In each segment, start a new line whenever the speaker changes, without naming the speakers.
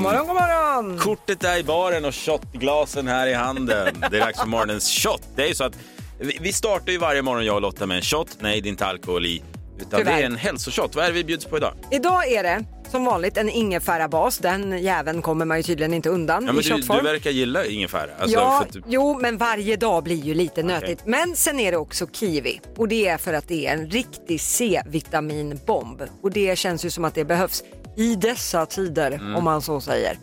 morgon, god morgon!
Kortet är i baren och shotglasen här i handen. Det är dags för morgonens shot. Det är ju så att vi vi startar ju varje morgon jag och Lotta med en shot. Nej, det är inte alkohol i. Utan det
Tyvärr.
är en hälsoshot. Vad är det vi bjuds på idag?
Idag är det som vanligt en ingefärabas. Den jäveln kommer man ju tydligen inte undan
Ja,
i
men du,
shotform.
du verkar gilla ingefära. Alltså,
Ja,
för att du-
jo, men varje dag blir ju lite nötigt. Men sen är det också kiwi och det är för att det är en riktig C-vitaminbomb och det känns ju som att det behövs i dessa tider
Mm.
om man så säger.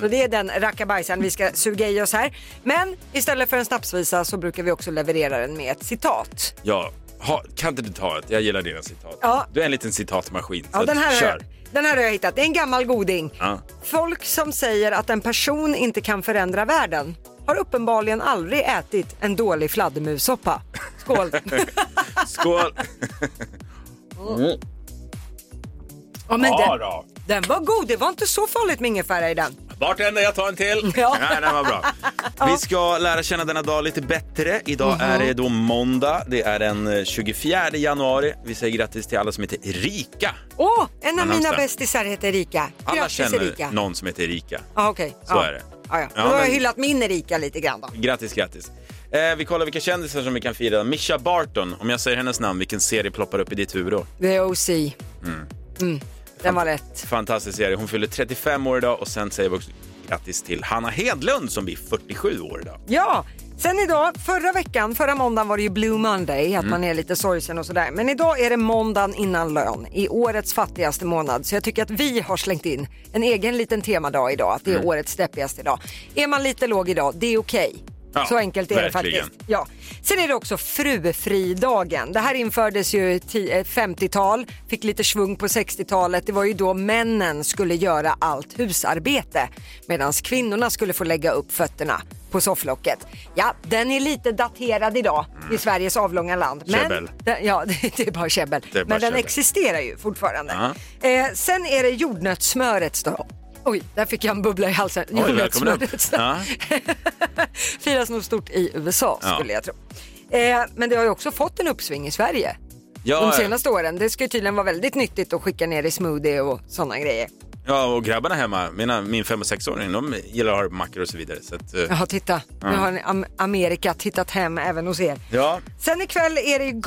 Så det är den rackabajsaren vi ska suga i oss här. Men istället för en snapsvisa så brukar vi också leverera den med ett citat.
ja. Ha, kan inte du ta ett? Jag gillar dina citat.
Ja.
Du är en liten citatmaskin. Så
Ja, den, här har
kör.
jag, den här har jag hittat. Det är en gammal goding.
Ja.
Folk som säger att en person inte kan förändra världen har uppenbarligen aldrig ätit en dålig fladdermussoppa. Skål!
Skål! Mm.
ja, men
Ja,
den,
då.
den var god. Det var inte så farligt med ingefära i den.
Bartender, jag tar en till.
Ja.
Nej, den var bra. Vi ska lära känna denna dag lite bättre. Idag
Mhm.
är det då måndag. Det är den eh, 24 januari. Vi säger grattis till alla som heter Erika.
Åh, en av
Annars
mina
där.
bästisar heter Erika.
Alla
Grattis
känner
Erika.
någon som heter Erika.
Ja, okej.
Så
ja.
är det.
Ja, ja. Då
Ja,
har jag
men- Mm.
hyllat min Erika lite grann då.
Grattis, grattis. Eh, vi kollar vilka kändisar som vi kan fira. Misha Barton, om jag säger hennes namn, vilken serie ploppar upp i ditt huvud då?
The OC. Mm. Den var lätt.
Fantastisk serie. Hon fyller 35 år idag och sen säger vi också grattis till Hanna Hedlund som blir 47 år idag.
Ja, sen idag, förra veckan, förra måndagen var det ju Blue Monday,
Mm.
att man är lite sorgsen och sådär. Men idag är det måndagen innan lön, i årets fattigaste månad. Så jag tycker att vi har slängt in en egen liten temadag idag, att det är
Mm.
årets deppigaste idag. Är man lite låg idag, det är okej.
Ja,
Så enkelt är det
verkligen.
faktiskt. Ja. Sen är det också frufridagen. Det här infördes ju ti- eh, 50-tal, fick lite svung på 60-talet. Det var ju då männen skulle göra allt husarbete medan kvinnorna skulle få lägga upp fötterna på sofflocket. Ja, den är lite daterad idag i Sveriges avlånga land.
Mm. Käbbel.
den, ja, det, det är bara käbbel.
Det är bara
Men den
käbbel.
existerar ju fortfarande. Eh, sen är det jordnötssmörets dag. Oj, där fick jag en bubbla i halsen.
välkommen upp.
Jordnötssmörets dag.
Ja.
Firas nog stort i USA
Ja.
skulle jag tro. Eh, men det har ju också fått en uppsving i Sverige
Ja,
de senaste åren. Det ska ju tydligen vara väldigt nyttigt att skicka ner i smoothie och sådana grejer.
Ja, och grabbarna hemma, mina, min fem och sexåring, de gillar att ha mackor och så vidare. Så att, eh,
Jaha, titta. Nu har ni Am- Amerika tittat hem även hos er.
ja.
Sen ikväll är det ju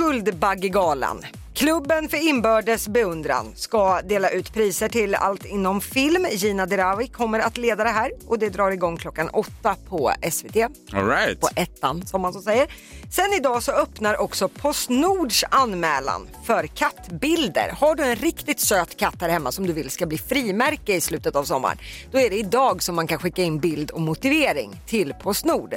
Guldbaggegalan. Klubben för inbördes beundran ska dela ut priser till allt inom film. Gina Dirawi kommer att leda det här och det drar igång klockan åtta på SVT.
All right.
på ettan som man så säger. Sen idag så öppnar också Postnords anmälan för kattbilder. Har du en riktigt söt katt här hemma som du vill ska bli frimärke i slutet av sommaren, då är det idag som man kan skicka in bild och motivering till Postnord.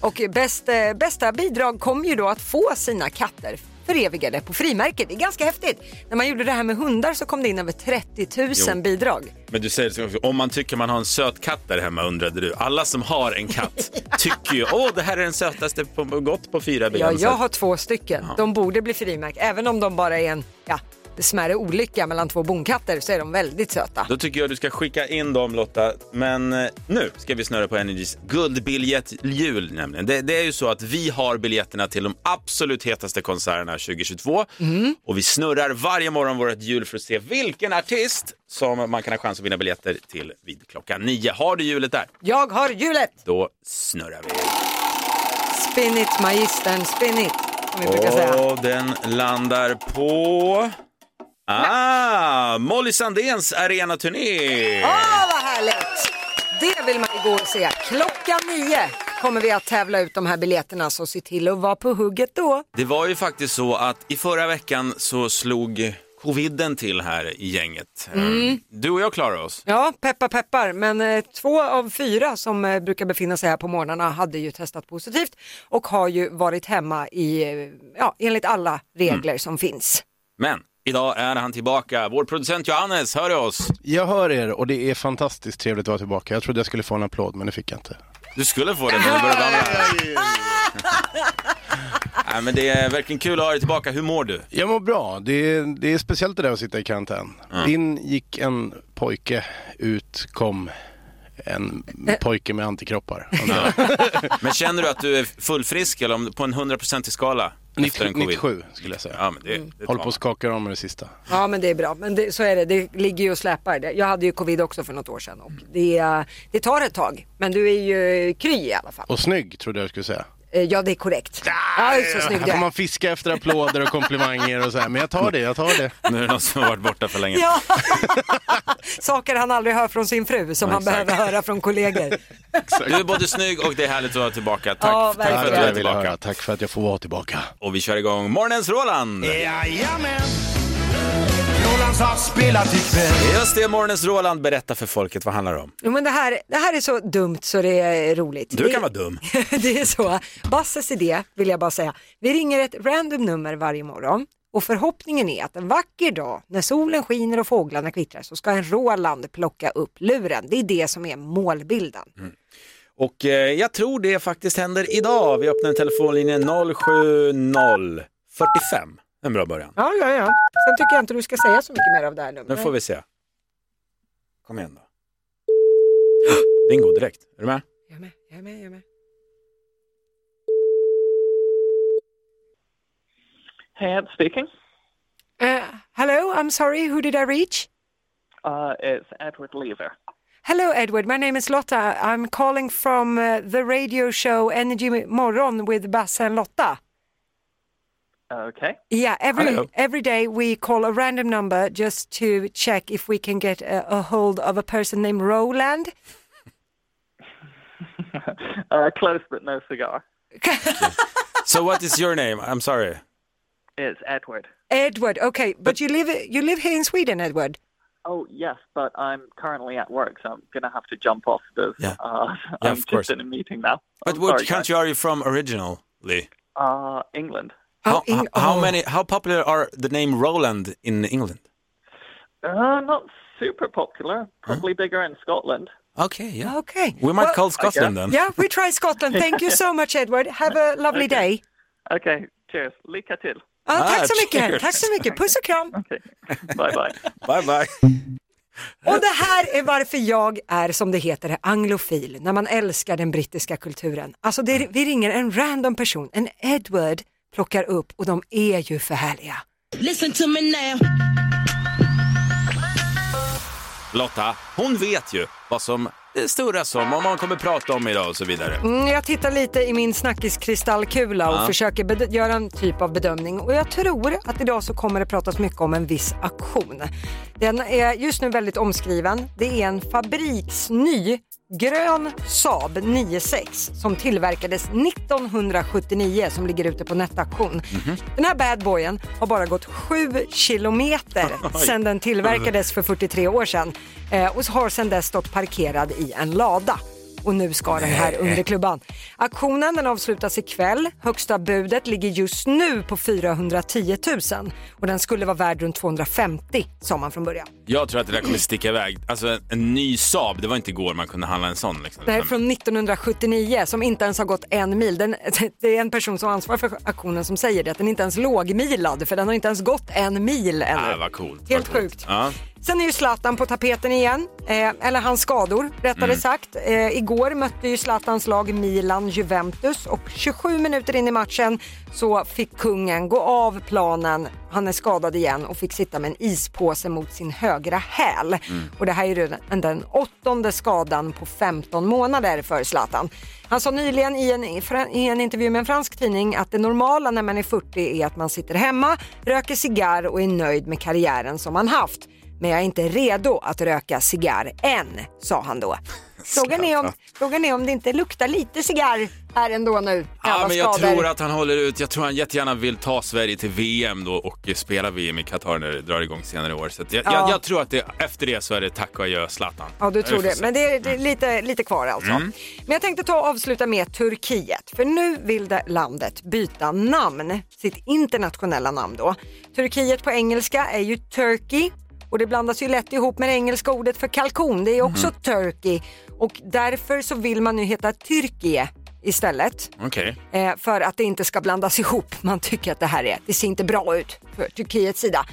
Och bäst, eh, bästa bidrag kommer ju då att få sina katter förevigade på frimärke. Det är ganska häftigt. När man gjorde det här med hundar så kom det in över 30 000
Jo.
bidrag.
Men du säger så också, om man tycker man har en söt katt där hemma undrade du. Alla som har en katt tycker ju, åh det här är den sötaste på, gott på fyra ben.
Ja,
Så
jag
att-
har två stycken. De borde bli frimärkta. Även om de bara är en ja, smärre olycka mellan två bonkatter så är de väldigt söta.
Då tycker jag du ska skicka in dem Lotta. Men eh, nu ska vi snurra på Energys guldbiljettjul nämligen. Det, det är ju så att vi har biljetterna till de absolut hetaste konserterna 2022. Och vi snurrar varje morgon vårt hjul för att se vilken artist som man kan ha chans att vinna biljetter till vid klockan nio. Har du hjulet där?
Jag har hjulet!
Då snurrar vi.
Spin it magistern, spin it. Som vi brukar säga.
Och den landar på... Ah, Molly Sandéns arenaturné!
Åh, vad härligt! Det vill man ju gå och se. Klockan nio kommer vi att tävla ut de här biljetterna så se till att vara på hugget då.
Det var ju faktiskt så att i förra veckan så slog coviden till här i gänget.
Mm.
Ehm, Du och jag klarade oss.
Ja, peppar peppar, men eh, två av fyra som eh, brukar befinna sig här på morgnarna hade ju testat positivt och har ju varit hemma i, eh, ja, enligt alla regler som finns.
Men idag är han tillbaka. Vår producent Johannes, hör du oss?
Jag hör er och det är fantastiskt trevligt att vara tillbaka. Jag trodde jag skulle få en applåd men det fick jag inte.
Du skulle få den när du började babbla. Nej, men det är verkligen kul att ha dig tillbaka. Hur mår du?
Jag mår bra. Det är, det är Mm. speciellt det där att sitta i karantän. In gick en pojke, ut kom en
Eh.
pojke med antikroppar.
Men känner du att du är fullfrisk eller om, på en 100% skala? Efter en covid?
97 skulle jag säga. Mm.
Ja, men det, det
Håller
tar
på att skaka om med det sista.
Ja men det är bra, men det, så är det. Det ligger ju och släpar. Det- Jag hade ju covid också för något år sedan och det, eh, det tar ett tag. Men du är ju kry i alla fall.
Och snygg trodde jag skulle säga.
Eh, Ja det är korrekt. Ja, så snygg
Här
du
får
är.
man fiska efter applåder och komplimanger och så här. Men jag tar det, jag tar det.
man. Nu är det någon som har varit borta för länge.
Ja. Saker han aldrig hör från sin fru som
Ja,
han
exakt.
behöver höra från kollegor.
Du är både snygg och det är härligt att vara tillbaka. Tack,
Ja,
tack för
verkligen.
att
Tack
du
för,
är
jag ville höra.
tillbaka.
Tack för att jag får vara tillbaka.
Och vi kör igång morgonens Roland.
Jajamän! Rolands avspelat ikväll.
Just det, morgonens Roland. Berätta för folket, vad handlar det om?
Jo, men det, här, det här är så dumt så det är roligt.
Du
det,
kan vara dum.
det är så. Basses idé vill jag bara säga. Vi ringer ett random nummer varje morgon och förhoppningen är att en vacker dag när solen skiner och fåglarna kvittrar så ska en Roland plocka upp luren. Det är det som är målbilden.
Och eh, jag tror det faktiskt händer idag. Vi öppnar en telefonlinje 070 45. En bra början.
Ja, ja, ja. Sen tycker jag inte du ska säga så mycket mer av det här
Nu
numret.
får vi se. Kom igen då. Bingo direkt. Är du med?
Jag är med, jag är med, jag är med.
Hand speaking.
Eh, hello, I'm sorry, who did I reach?
Uh, it's Edward Lever.
Hello Edward, my name is Lotta. I'm calling from uh, the radio show Energy Morgon with Basse and Lotta.
Okay.
Yeah, every
Hello.
every day we call a random number just to check if we can get a, a hold of a person named Roland.
Uh, close but no cigar.
So what is your name? I'm sorry.
It's Edward.
Edward, okay, but, you live you live here in Sweden, Edward.
Oh yes, but I'm currently at work, so I'm gonna have to jump off. This.
Yeah.
Uh, I'm
of
just
course.
in a meeting now.
But
I'm
what
sorry,
country are you from originally?
guys. Uh, England.
How,
in-
how- how
oh.
many? How popular are the name Roland in England?
Uh, not super popular. Probably bigger in Scotland.
Okay, yeah.
Okay.
We might
Well,
call Scotland then.
Yeah, we try Scotland. Thank you so much Edward. Have a lovely day.
Okay. Cheers. Lycka till.
Ja,
Ah,
tack så mycket.
cheers.
Tack så mycket. Puss och kram.
Okay. bye bye.
Bye bye.
Och det här är varför jag är som det heter anglofil, när man älskar den brittiska kulturen. Alltså det,
Mm.
vi ringer en random person, en Edward plockar upp och de är ju för härliga.
Listen to me now.
Lotta, hon vet ju vad som det snurras om, vad man kommer prata om idag och så vidare.
Mm, jag tittar lite i min snackiskristallkula och försöker bed- göra en typ av bedömning. Och jag tror att idag så kommer det pratas mycket om en viss aktion. Den är just nu väldigt omskriven. Det är en fabriksny grön Saab 96 som tillverkades 1979 som ligger ute på nätauktion. Den här bad boyen har bara gått 7 kilometer sedan den tillverkades för 43 år sedan eh, och har sedan dess stått parkerad i en lada och nu ska den här under klubban. Auktionen den avslutas ikväll. Högsta budet ligger just nu på 410 000 och den skulle vara värd runt 250 sa man från början.
Jag tror att det där kommer sticka iväg. Alltså en, en ny Saab, det var inte igår man kunde handla en sån. Liksom.
Det här är från 1979 som inte ens har gått en mil. Den, det är en person som ansvarar för auktionen som säger det, att den inte ens lågmilad för den har inte ens gått en mil ännu.
Ah, vad coolt.
Helt
vad coolt.
sjukt.
Ja.
Sen är ju Zlatan på tapeten igen, eh, eller hans skador rättare sagt. Eh, igår mötte ju Zlatans lag Milan Juventus och 27 minuter in i matchen så fick kungen gå av planen. Han är skadad igen och fick sitta med en ispåse mot sin högra häl. Och det här är ju den, den åttonde skadan på 15 månader för Zlatan. Han sa nyligen i en, i en intervju med en fransk tidning att det normala när man är 40 är att man sitter hemma, röker cigarr och är nöjd med karriären som man haft. Men jag är inte redo att röka cigarr än, sa han då. Frågan är om, frågan är om det inte luktar lite cigarr här ändå nu. med
Ja,
alla
men jag
skador.
tror att han håller ut. Jag tror han jättegärna vill ta Sverige till VM då och eh, spela VM i Qatar när det drar igång senare i år. Så att jag, jag,
Ja.
jag tror att det, efter det så är det tack och adjö Zlatan.
Ja, du
Vi
tror
får
det.
se.
Men
Mm.
det är det är lite, lite kvar alltså. Men jag tänkte ta och avsluta med Turkiet. För nu vill det landet byta namn, sitt internationella namn då. Turkiet på engelska är ju Turkey och det blandas ju lätt ihop med det engelska ordet för kalkon. Det är också
Mm.
Turkey och därför så vill man nu heta Tyrkie istället.
Okej.
Eh, för att det inte ska blandas ihop. Man tycker att det här är, det ser inte bra ut för Turkiets sida.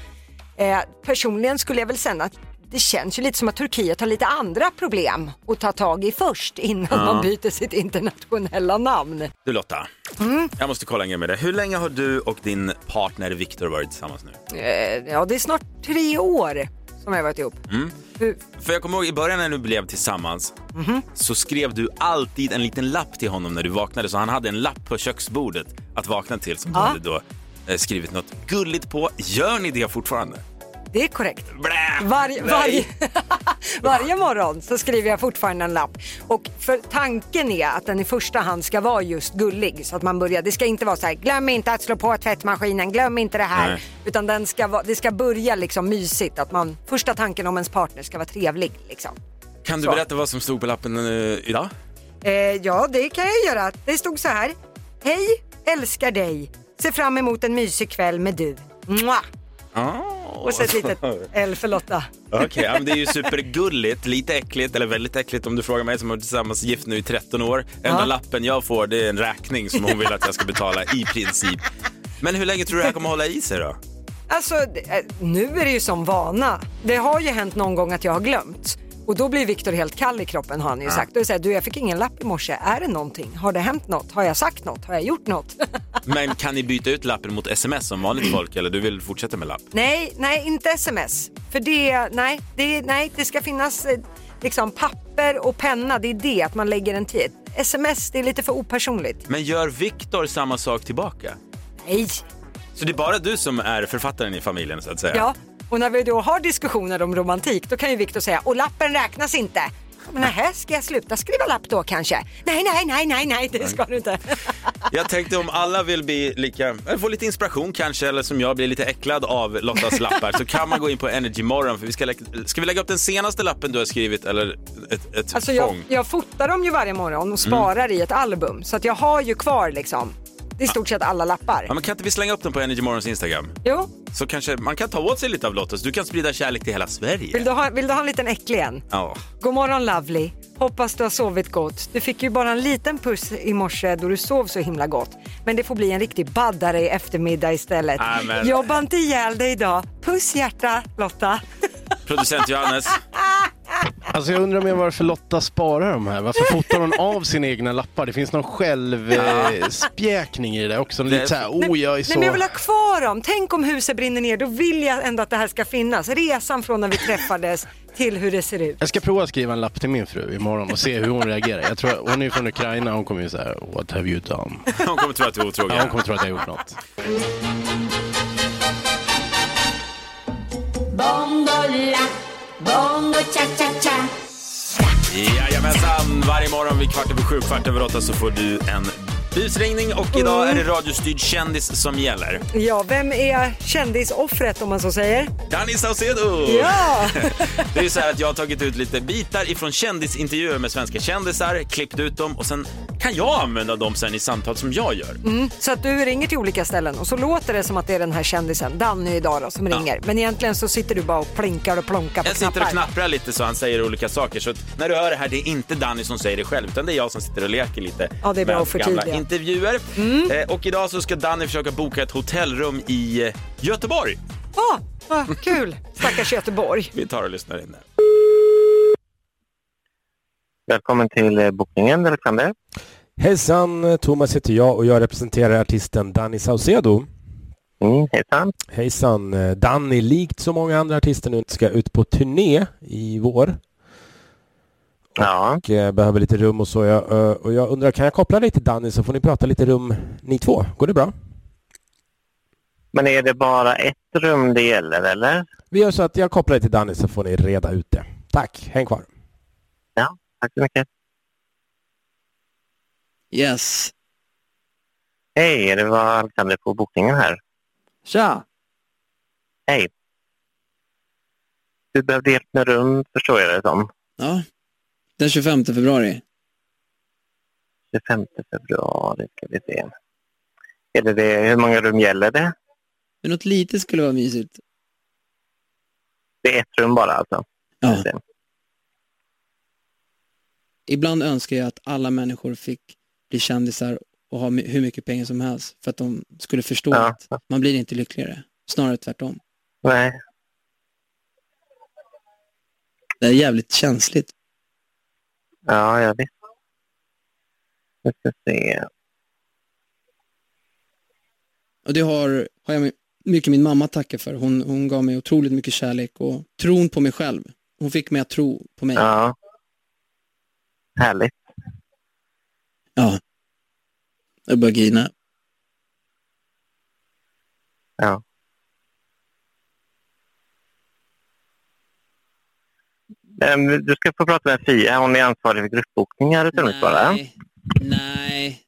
Eh, personligen skulle jag väl säga att det känns ju lite som att Turkiet har lite andra problem att ta tag i först innan man byter sitt internationella namn. Eh,
Du Lotta,
Mm.
jag måste kolla en grej med dig. Hur länge har du och din partner Viktor varit tillsammans nu?
Eh, Ja, det är snart tre år som jag har varit ihop. Hur-
För jag kommer ihåg i början när du blev tillsammans så skrev du alltid en liten lapp till honom när du vaknade. Så han hade en lapp på köksbordet att vakna till som du
Ja.
hade då eh, skrivit något gulligt på. Gör ni det fortfarande?
Det är korrekt.
Blä!
Varje,
Nej.
varje, varje morgon så skriver jag fortfarande en lapp. Och för tanken är att den i första hand ska vara just gullig. Så att man börjar, det ska inte vara så här, glöm inte att slå på tvättmaskinen, glöm inte det här.
Nej.
Utan den ska vara, det ska börja liksom mysigt. Att man, första tanken om ens partner ska vara trevlig. Liksom.
Kan du
Så.
berätta vad som stod på lappen eh, idag?
Eh, ja, det kan jag göra. Det stod så här. Hej, älskar dig. Ser fram emot en mysig kväll med du. Mwah! Och så ett litet L för Lotta.
Ah. Okej, ja, men det är ju supergulligt, lite äckligt, eller väldigt äckligt om du frågar mig som har varit tillsammans gift nu i 13 år. Enda
Ja.
lappen jag får det är en räkning som hon vill att jag ska betala i princip. Men hur länge tror du det här kommer hålla i sig då?
Alltså, eh, nu är det ju som vana. Det har ju hänt någon gång att jag har glömt. Och då blir Viktor helt kall i kroppen har han ju sagt. Då är det så här, du jag fick ingen lapp i morse. Är det någonting? Har det hänt något? Har jag sagt något? Har jag gjort något?
Men kan ni byta ut lappen mot sms som vanligt folk eller du vill fortsätta med lapp?
nej, nej, inte sms. För det, nej, det, nej, det ska finnas eh, liksom papper och penna. Det är det, att man lägger en tid. Sms, det är lite för opersonligt.
Men gör Viktor samma sak tillbaka?
Nej,
Så det är bara du som är författaren i familjen så att säga?
ja. Och när vi då har diskussioner om romantik, då kan ju Viktor säga, och lappen räknas inte. Men nähä, ska jag sluta skriva lapp då kanske? Nej, nej, nej, nej, nej, det ska du inte.
Jag tänkte om alla vill bli lika, eller få lite inspiration kanske, eller som jag blir lite äcklad av Lottas lappar, så kan man gå in på Energy Morgon. För vi ska, lä- ska vi lägga upp den senaste lappen du har skrivit eller ett, ett
Alltså jag,
fång?
jag fotar dem ju varje morgon och
Mm.
sparar i ett album, så att jag har ju kvar liksom, det är i stort sett alla lappar.
Ja, men kan inte vi slänga upp den på Energy Morgons Instagram?
Jo,
Så kanske man kan ta åt sig lite av Lottas. Du kan sprida kärlek till hela Sverige.
vill du ha, vill du ha en liten äcklig en?
Ja.
God morgon Lovely. Hoppas du har sovit gott. Du fick ju bara en liten puss i morse då du sov så himla gott. Men det får bli en riktig baddare i eftermiddag istället.
Nej, men-
Jobba inte ihjäl dig idag. Puss hjärta Lotta.
Producent Johannes.
Alltså jag undrar mer varför Lotta sparar de här. Varför fotar hon av sina egna lappar? Det finns någon självspjäkning i det där också. Lite såhär, oh jag är
Nej, men jag
så...
vill ha kvar dem. Tänk om huset brinner ner, då vill jag ändå att det här ska finnas. Resan från när vi träffades till hur det ser ut.
Jag ska prova att skriva en lapp till min fru imorgon och se hur hon reagerar. Jag tror, hon är ju från Ukraina, hon kommer ju såhär, what have you done?
Hon kommer tro att du är otrogen.
Ja, hon kommer tro att jag har gjort något.
Bongo la, bongo cha cha cha.
Jajamensan! Varje morgon vid kvart över sju, kvart över åtta så får du en busringning och idag
Mm.
är det radiostyrd kändis som gäller.
Ja, vem är kändisoffret om man så säger?
Danny Saucedo!
Ja!
Det är ju så här att jag har tagit ut lite bitar ifrån kändisintervjuer med svenska kändisar, klippt ut dem och sen kan jag använda dem sen i samtal som jag gör.
Så att du ringer till olika ställen och så låter det som att det är den här kändisen, Danny idag då, som ringer. Men egentligen så sitter du bara och plinkar och plonkar på
Jag
knappar.
sitter och knapprar lite så han säger olika saker. Så att när du hör det här, det är inte Danny som säger det själv utan det är jag som sitter och leker lite
Ja, det är bra
med
att förtydliga. Mm.
gamla intervjuer. Eh, och idag så ska Danny försöka boka ett hotellrum i eh, Göteborg.
Åh, vad kul! Stackars Göteborg.
Vi tar och lyssnar in där.
Välkommen till eh, bokningen, Alexander.
Hejsan, eh, Thomas heter jag och jag representerar artisten Danny Saucedo.
Mm, hejsan.
Hejsan, eh, Danny likt så många andra artister nu ska ut på turné i vår
Ja,
och eh, behöver lite rum och så. Jag, eh, och jag undrar, kan jag koppla dig till Danny så får ni prata lite rum ni två? Går det bra?
men är det bara ett rum det gäller, eller?
Vi gör så att jag kopplar dig till Danny så får ni reda ut det. Tack, häng kvar.
Ja, tack så mycket.
Yes.
Hej, det var Alexander på bokningen här.
Tja.
Hej. Du behövde hjälp med rum, förstår jag det som.
Ja. Den 25 februari.
25 februari ska vi se. Är det det, hur många rum gäller det?
Men något litet skulle vara mysigt.
Det är ett rum bara alltså?
Ja. Ibland önskar jag att alla människor fick bli kändisar och ha my- hur mycket pengar som helst för att de skulle förstå
Ja.
att man blir inte lyckligare. Snarare tvärtom.
Nej.
Det är jävligt känsligt.
Ja, jag vet. Vi ska se.
Och det har, har jag mycket min mamma att tacka för. Hon, hon gav mig otroligt mycket kärlek och tron på mig själv. Hon fick mig att tro på mig.
Ja. Härligt.
Ja. Jag börjar grina.
Ja. Ehm, Du ska få prata med Fia. Hon är ansvarig för gruppbokningar i Sundsvalla.
Nej. Nej.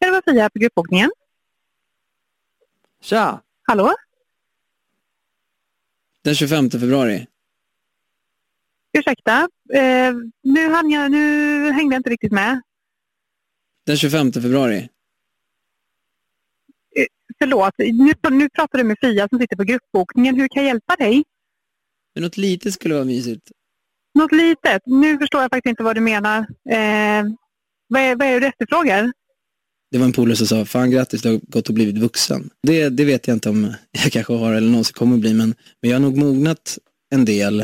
Det var Fia här på gruppbokningen.
Tja!
Hallå?
Den 25 februari.
Ursäkta. Eh, nu, hann jag, nu hängde jag inte riktigt med.
Den 25 februari.
Förlåt. Nu, nu pratar du med Fia som sitter på gruppbokningen. Hur kan jag hjälpa dig?
Men något litet skulle vara mysigt.
Något litet? Nu förstår jag faktiskt inte vad du menar. Eh, vad, är, vad är det du efterfrågar?
Det var en polare som sa, fan grattis, du har gått och blivit vuxen. Det, det vet jag inte om jag kanske har eller någonsin kommer att bli, men, men jag har nog mognat en del.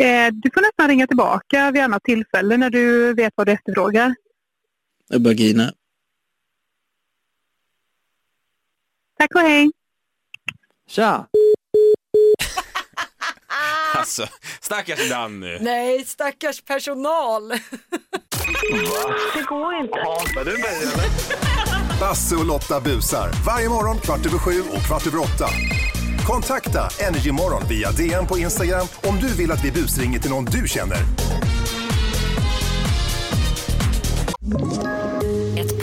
Eh, du får nästan ringa tillbaka vid annat tillfälle när du vet vad du efterfrågar.
Jag börjar grina.
Tack och hej!
Tja!
Alltså, stackars Danny.
Nej, stackars personal.
Det går inte.
Basse och Lotta busar. Varje morgon kvart över sju och kvart över åtta. Kontakta Energymorgon via DM på Instagram om du vill att vi busringer till någon du känner.
Ett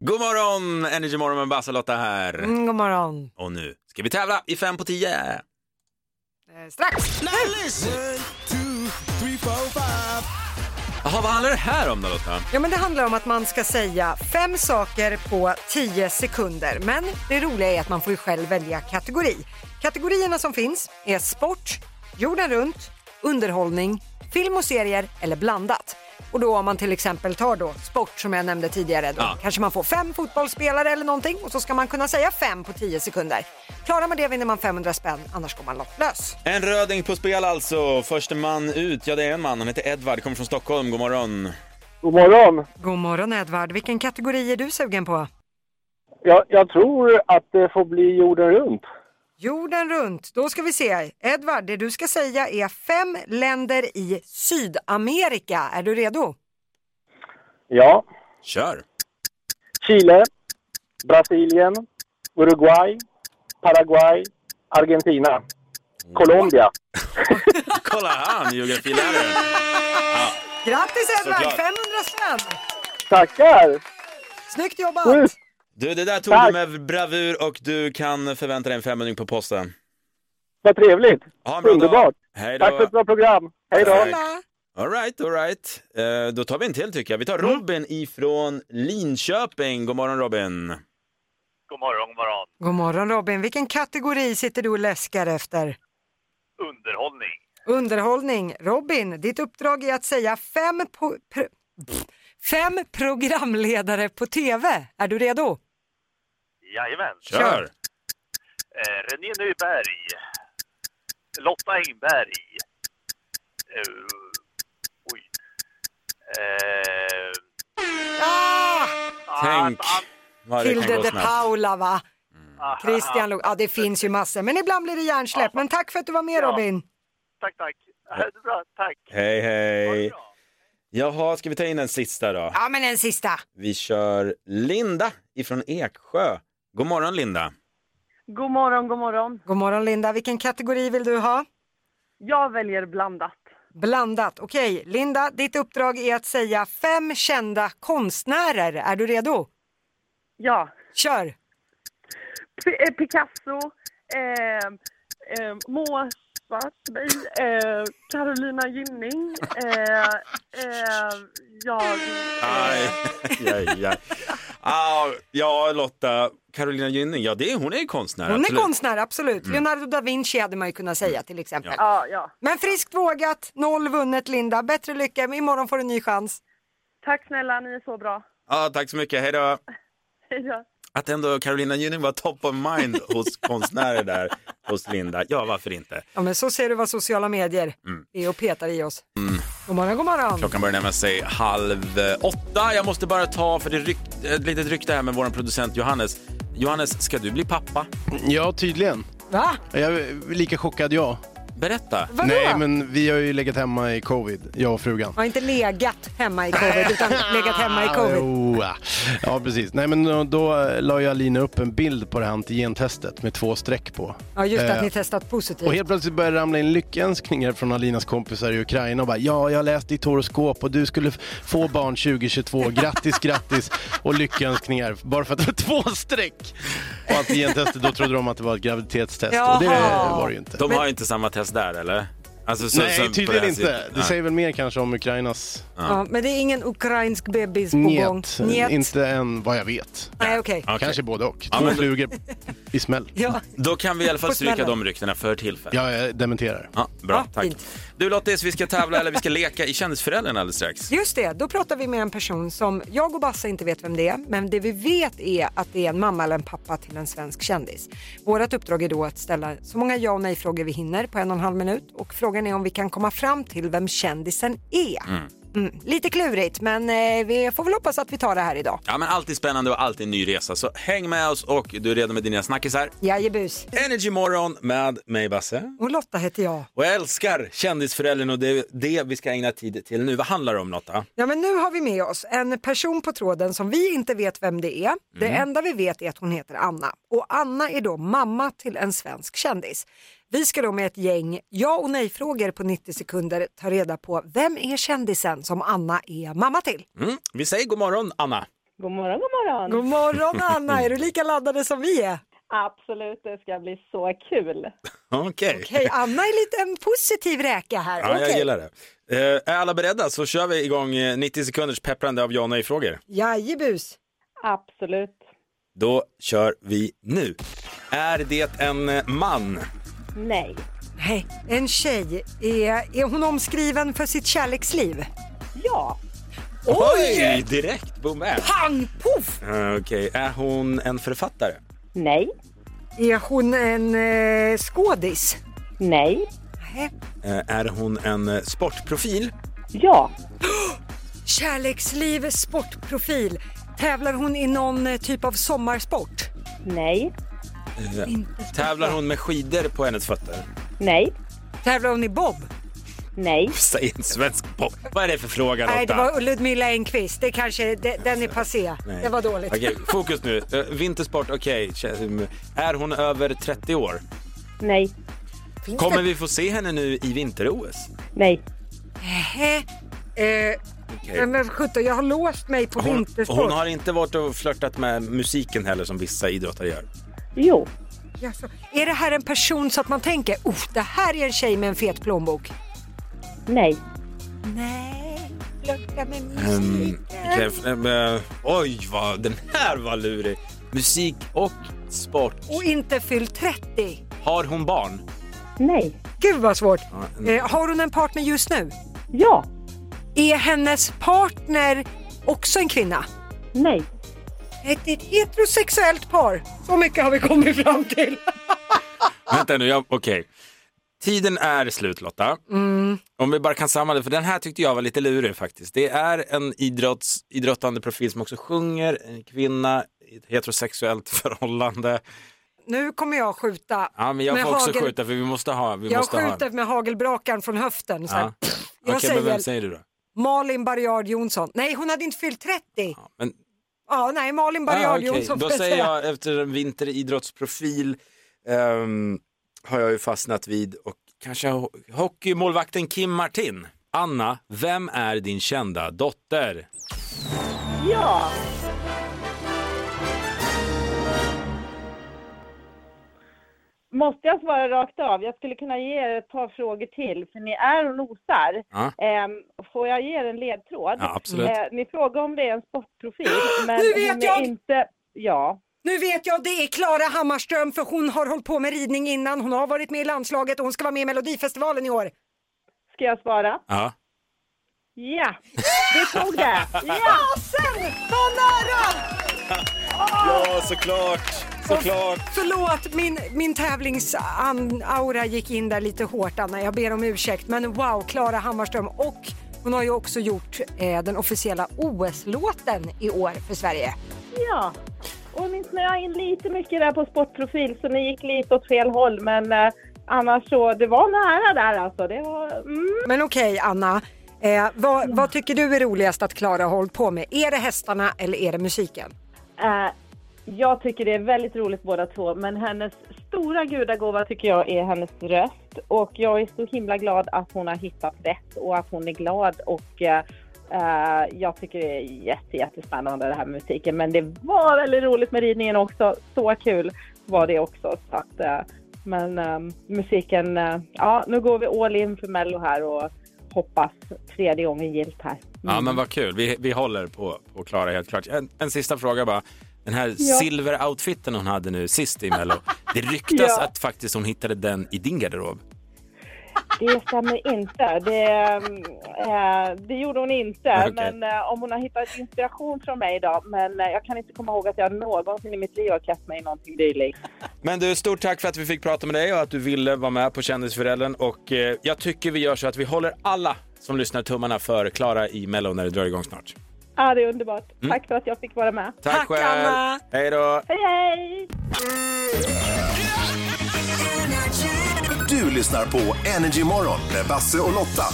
God morgon, Energy Morgon med Basse och Lotta här.
Mm, god morgon.
Och nu ska vi tävla i fem på tio.
Eh, strax. Nu.
Jaha, vad handlar det här om då Lotta?
Ja, men det handlar om att man ska säga fem saker på tio sekunder. Men det roliga är att man får ju själv välja kategori. Kategorierna som finns är sport, jorden runt, underhållning, film och serier eller blandat. Och då om man till exempel tar då sport som jag nämnde tidigare, då
Ja.
kanske man får fem fotbollsspelare eller någonting och så ska man kunna säga fem på tio sekunder. Klarar man det vinner man 500 spänn, annars går man lottlös.
En röding på spel alltså. Förste man ut, ja det är en man. Han heter Edvard, kommer från Stockholm. God morgon.
God morgon.
God morgon Edvard, vilken kategori är du sugen på?
Jag, jag tror att det får bli jorden runt.
Jorden runt. Då ska vi se. Edvard, det du ska säga är fem länder i Sydamerika. Är du redo?
Ja.
Kör.
Chile, Brasilien, Uruguay, Paraguay, Argentina, Colombia.
Kolla han, geografiläraren. Ja,
Grattis Edvard,
Såklart.
500 spänn!
Tackar!
Snyggt jobbat!
Du, det där tog
Tack.
du med bravur och du kan förvänta dig en femhundring på posten.
Vad trevligt!
Ha en bra
Underbart!
dag. Hej då.
Tack för ett bra program! Hej då!
Tack. All right, all right. Eh, då tar vi en till tycker jag. Vi tar Robin ifrån Linköping. God morgon Robin.
God morgon, god morgon.
God morgon Robin, vilken kategori sitter du och läskar efter?
Underhållning.
Underhållning. Robin, ditt uppdrag är att säga fem, po- pr- pff, fem programledare på TV. Är du redo?
Ah!
Jajamän.
Kör.
Eh, René Nyberg. Lotta Engberg. Eh, oj. Eh, ah,
Ah!
Tänk vad det kan
Tilde
gå
de
snabbt. Ah.
Paula va? Christian Lok. Ja det finns ju massor men ibland blir det
Ah.
hjärnsläpp. Men tack för att du var med Robin.
tack, tack. Ha det bra, tack.
Hej, hej. Jaha, ska vi ta in en sista då?
Ja men en sista.
Vi kör Linda ifrån Eksjö. God morgon Linda.
God morgon, god morgon.
God morgon Linda, vilken kategori vill du ha?
Jag väljer blandat.
Blandat. Okej Linda, ditt uppdrag är att säga fem kända konstnärer. Är du redo?
Ja.
Kör!
P- eh, Picasso, eh,
ehm,
eh, Moa Svartberg, eh, Carolina Gynning. Eh, eh, jag...
Aj, aj, aj. Ah, ja, Lotta, Carolina Gynning, ja, det är, hon är ju konstnär.
Hon är
absolut.
konstnär, absolut.
Mm.
Leonardo da Vinci hade man ju kunnat säga till exempel.
Ja, ja.
Men friskt vågat, noll vunnet Linda. Bättre lycka, men imorgon får du en ny chans.
Tack snälla, ni är så bra.
Ja, tack så mycket, hej då.
Hej då.
Att ändå Carolina Gynning var top of mind hos konstnärer där, hos Linda. Ja, varför inte?
Ja, men så ser du vad sociala medier
Mm.
är och petar i oss.
Mm.
God morgon, god morgon.
Klockan börjar närma sig halv eh, åtta. Jag måste bara ta, för det är rykt, ett litet rykte här med vår producent Johannes. Johannes, ska du bli pappa?
Ja, tydligen.
Va?
Jag är lika chockad jag.
Berätta.
Vadå?
Nej, men vi har ju legat hemma i covid, jag och frugan.
Har inte legat hemma i covid utan legat hemma i covid.
Jo, ja. Oh, ah. ja, precis. Nej, men då, då la jag Lina upp en bild på det här antigentestet med två streck på.
Ja just det, att
Eh,
ni testat positivt.
Och helt plötsligt började det ramla in lyckönskningar från Alinas kompisar i Ukraina och bara ja, jag läste ditt horoskop och du skulle f- få barn 2022. Grattis, grattis och lyckönskningar bara för att det var två streck. Och antigentestet, då trodde de att det var ett graviditetstest och det
Jaha.
var det ju inte.
De har inte samma test där, eller? Alltså, så-
Nej,
så- på
tydligen
här
inte.
sidan.
Det
Nej.
säger väl mer kanske om Ukrainas...
Ja, men det är ingen ukrainsk bebis på gång.
Njet.
Njet.
Inte än vad jag vet.
Nej, okej.
Kanske både och. Två
Ja, men-
flugor i smäll.
Ja.
Då kan vi i alla fall
På
stryka
smällen.
de ryktena för tillfället.
Jag eh, dementerar.
Ja, bra, tack. Du Lottis, vi ska tävla, eller vi ska leka i Kändisföräldrarna alldeles strax.
Just det, då pratar vi med en person som jag och Bassa inte vet vem det är, men det vi vet är att det är en mamma eller en pappa till en svensk kändis. Vårt uppdrag är då att ställa så många ja och nej-frågor vi hinner på en och en halv minut och frågan är om vi kan komma fram till vem kändisen är. Mm, lite klurigt, men eh, vi får väl hoppas att vi tar det här idag.
Ja, men alltid spännande och alltid en ny resa, så häng med oss och du är redo med dina snackisar.
Jajebus.
Energy Morgon med mig Basse.
Och Lotta heter jag.
Och jag älskar Kändisföräldern och det är det vi ska ägna tid till nu. Vad handlar det om Lotta?
Ja, men nu har vi med oss en person på tråden som vi inte vet vem det är. Det
Mm.
enda vi vet är att hon heter Anna och Anna är då mamma till en svensk kändis. Vi ska då med ett gäng ja och nej-frågor på 90 sekunder ta reda på vem är kändisen som Anna är mamma till.
Mm. Vi säger god morgon Anna.
God morgon, god morgon.
God morgon Anna, är du lika laddade som vi är?
Absolut, det ska bli så kul.
Okej.
Hej, Anna är lite en positiv räka här.
Ja, jag
Okej.
gillar det. Eh, Är alla beredda så kör vi igång eh, 90 sekunders pepprande av ja och nej-frågor.
Jajebus.
Absolut.
Då kör vi nu. Är det en eh, man?
Nej.
Nej, en tjej, är, är hon omskriven för sitt kärleksliv?
Ja.
Oj! Direkt, boom, bam.
Pang, poff!
Eh, Okej, är hon en författare?
Nej.
Är hon en eh, skådis?
Nej.
Eh, Är hon en eh, sportprofil?
Ja.
Kärleksliv, sportprofil. Tävlar hon i någon eh, typ av sommarsport?
Nej.
Eh, Tävlar hon med skidor på hennes fötter?
Nej.
Tävlar hon i bob?
Nej.
Säg en svensk pop. Vad är det för fråga Lotta?
Nej, det var Ludmilla Engqvist. Det kanske, det, den är passé.
Nej.
Det var dåligt.
Okej, fokus nu. Eh, Vintersport, okej. Kä- Är hon över 30 år?
Nej.
Kommer vi få se henne nu i vinter-OS?
Nej.
Hä? Eh,
Okej.
Men sjutton, jag har låst mig på
Hon,
vintersport.
hon har inte varit och flörtat med musiken heller som vissa idrottare gör.
Jo.
Jaså. Är det här en person så att man tänker, oh, det här är en tjej med en fet plånbok?
Nej.
Nej, flörta med
Um, eh, oj, vad, den här var lurig. Musik och sport.
Och inte fyllt 30.
Har hon barn?
Nej.
Gud vad svårt.
Ja, en-
Eh, har hon en partner just nu?
Ja.
Är hennes partner också en kvinna?
Nej.
Ett, ett heterosexuellt par. Så mycket har vi kommit fram till. Ah!
Vänta nu, jag- okej. Tiden är slut Lotta.
Mm.
Om vi bara kan samla för den här tyckte jag var lite lurig faktiskt. Det är en idrotts, idrottande profil som också sjunger, en kvinna i ett heterosexuellt förhållande.
Nu kommer jag skjuta.
Ja, men jag
med
får också
hagel-
skjuta för vi måste ha. Vi
Jag
måste
skjuter
ha.
med hagelbrakan från höften. Så här.
Ja.
Jag
Okej, men
säger-
vem säger du då?
Malin Barriard Jonsson. Nej, hon hade inte fyllt 30. Ja,
men-
nej, Malin Barriard
Ah, okej.
Jonsson.
Då
får
säger jag efter en vinteridrottsprofil ehm, har jag ju fastnat vid och kanske ho- hockeymålvakten Kim Martin. Anna, vem är din kända dotter?
Ja.
Måste jag svara rakt av? Jag skulle kunna ge er ett par frågor till, för ni är och nosar.
Ja.
Ehm, får jag ge er en ledtråd?
Ja, absolut.
Eh, ni frågar om det är en sportprofil, men
Nu vet
hon är
jag!
inte... Ja.
Nu vet jag, det är Klara Hammarström för hon har hållit på med ridning innan. Hon har varit med i landslaget och hon ska vara med i Melodifestivalen i år.
Ska jag svara?
Ja.
Ja, du tog det! Ja!
Fasen! Vad nära!
Ja, såklart! Såklart!
Förlåt, min, min tävlingsaura gick in där lite hårt, Anna. Jag ber om ursäkt. Men wow, Klara Hammarström. Och hon har ju också gjort eh, den officiella OS-låten i år för Sverige.
Ja, och ni snöade in lite mycket där på sportprofil så ni gick lite åt fel håll men eh, annars så, det var nära där alltså. Det var, mm.
Men okej, Anna. Eh, vad, vad tycker du är roligast att Klara har hållit på med? Är det hästarna eller är det musiken?
eh, jag tycker det är väldigt roligt båda två men hennes stora gudagåva tycker jag är hennes röst och jag är så himla glad att hon har hittat rätt och att hon är glad och eh, eh, jag tycker det är jätte, jättespännande det här med musiken men det var väldigt roligt med ridningen också. Så kul var det också. Så att, eh, men ehm, musiken, eh, ja nu går vi all in för Mello här och hoppas tredje gången gillt här.
Ja, men vad kul. Vi, vi håller på, på Klara helt klart. En, en sista fråga bara. Den här
Ja.
silveroutfiten hon hade nu sist i Mello. Det ryktas
Ja.
att faktiskt hon hittade den i din garderob.
Det stämmer inte. Det, ehm, eh, det gjorde hon inte.
Okej.
Men eh, om hon har hittat inspiration från mig idag. Men eh, jag kan inte komma ihåg att jag någonsin i mitt liv har klätt mig i någonting dylikt.
Men du, stort tack för att vi fick prata med dig och att du ville vara med på Kändisföräldern. Och eh, jag tycker vi gör så att vi håller alla som lyssnar tummarna för Klara i Mello när det drar igång snart.
Ja, det är underbart.
Mm.
Tack för att jag fick vara med.
Tack, själv! Hej då!
Hej, hej!
Du lyssnar på Energy Morgon med Basse och Lotta.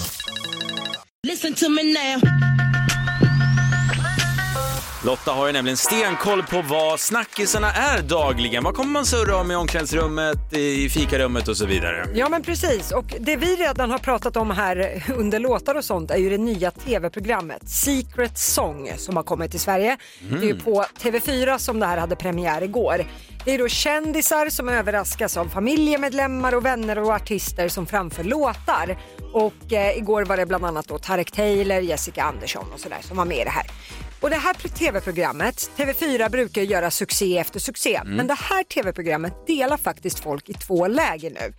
Listen to me now.
Lotta har ju nämligen stenkoll på vad snackisarna är dagligen. Vad kommer man surra om i omklädningsrummet, i fikarummet och så vidare?
Ja men precis och det vi redan har pratat om här under låtar och sånt är ju det nya tv-programmet Secret Song som har kommit till Sverige.
Mm.
Det är ju på TV4 som det här hade premiär igår. Det är då kändisar som överraskas av familjemedlemmar och vänner och artister som framför låtar. Och eh, igår var det bland annat då Tarek Taylor, Jessica Andersson och sådär som var med i det här. Och det här tv-programmet, TV4 brukar ju göra succé efter succé,
Mm.
men det här tv-programmet delar faktiskt folk i två läger nu.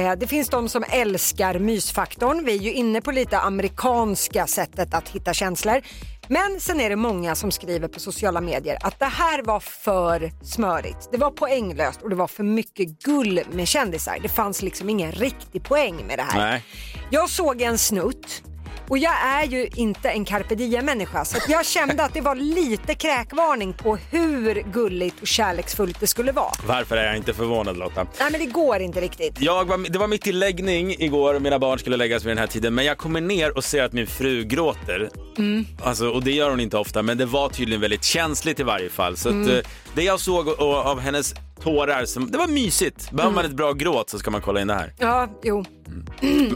Eh, det finns de som älskar mysfaktorn, vi är ju inne på lite amerikanska sättet att hitta känslor. Men sen är det många som skriver på sociala medier att det här var för smörigt. Det var poänglöst och det var för mycket gull med kändisar. Det fanns liksom ingen riktig poäng med det här.
Nej.
Jag såg en snutt och jag är ju inte en carpe diem-människa så att jag kände att det var lite kräkvarning på hur gulligt och kärleksfullt det skulle vara.
Varför är jag inte förvånad Lotta?
Nej men det går inte riktigt.
Jag var, det var mitt i läggning igår och mina barn skulle läggas vid den här tiden men jag kommer ner och ser att min fru gråter.
Mm.
Alltså, och det gör hon inte ofta men det var tydligen väldigt känsligt i varje fall. Så att,
Mm.
eh, det jag såg och, och, av hennes tårar, som, det var mysigt. Behöver
Mm.
man ett bra gråt så ska man kolla in det här.
Ja, jo.